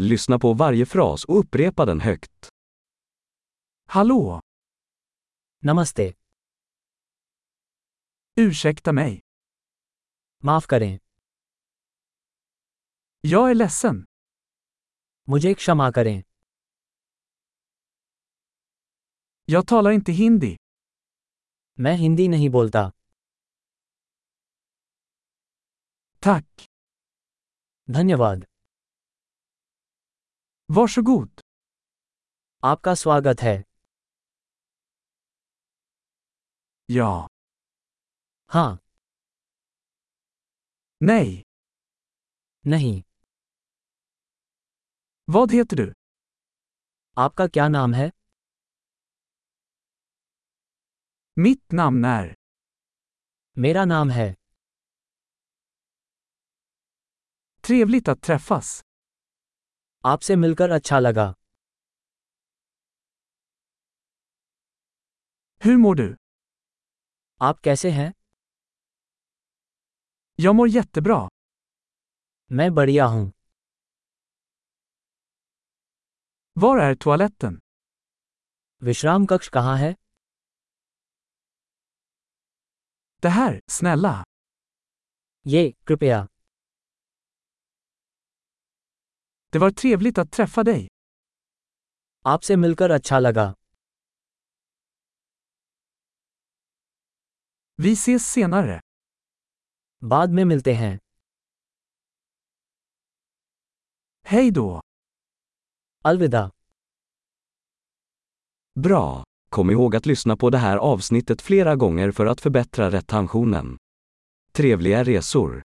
Lyssna på varje fras och upprepa den högt. Hallå, नमस्ते ursäkta mig. माफ करें Jag är ledsen. मुझे क्षमा करें Jag talar inte hindi. मैं हिंदी नहीं बोलता Tack. धन्यवाद Varsågod. आपका स्वागत है Ja. हाँ Nej. नहीं Vad heter du? आपका क्या नाम है Mitt namn är. मेरा नाम है Trevligt att träffas. आपसे मिलकर अच्छा लगा Hur mår du? आप कैसे हैं Jag mår jättebra. मैं बढ़िया हूँ Var är toaletten? विश्राम कक्ष कहाँ है Det här, snälla. ये कृपया Det var trevligt att träffa dig. आपसे मिलकर अच्छा लगा Vi ses senare. बाद में मिलते हैं Hej då. अलविदा Bra! Kom ihåg att lyssna på det här avsnittet flera gånger för att förbättra retentionen. Trevliga resor!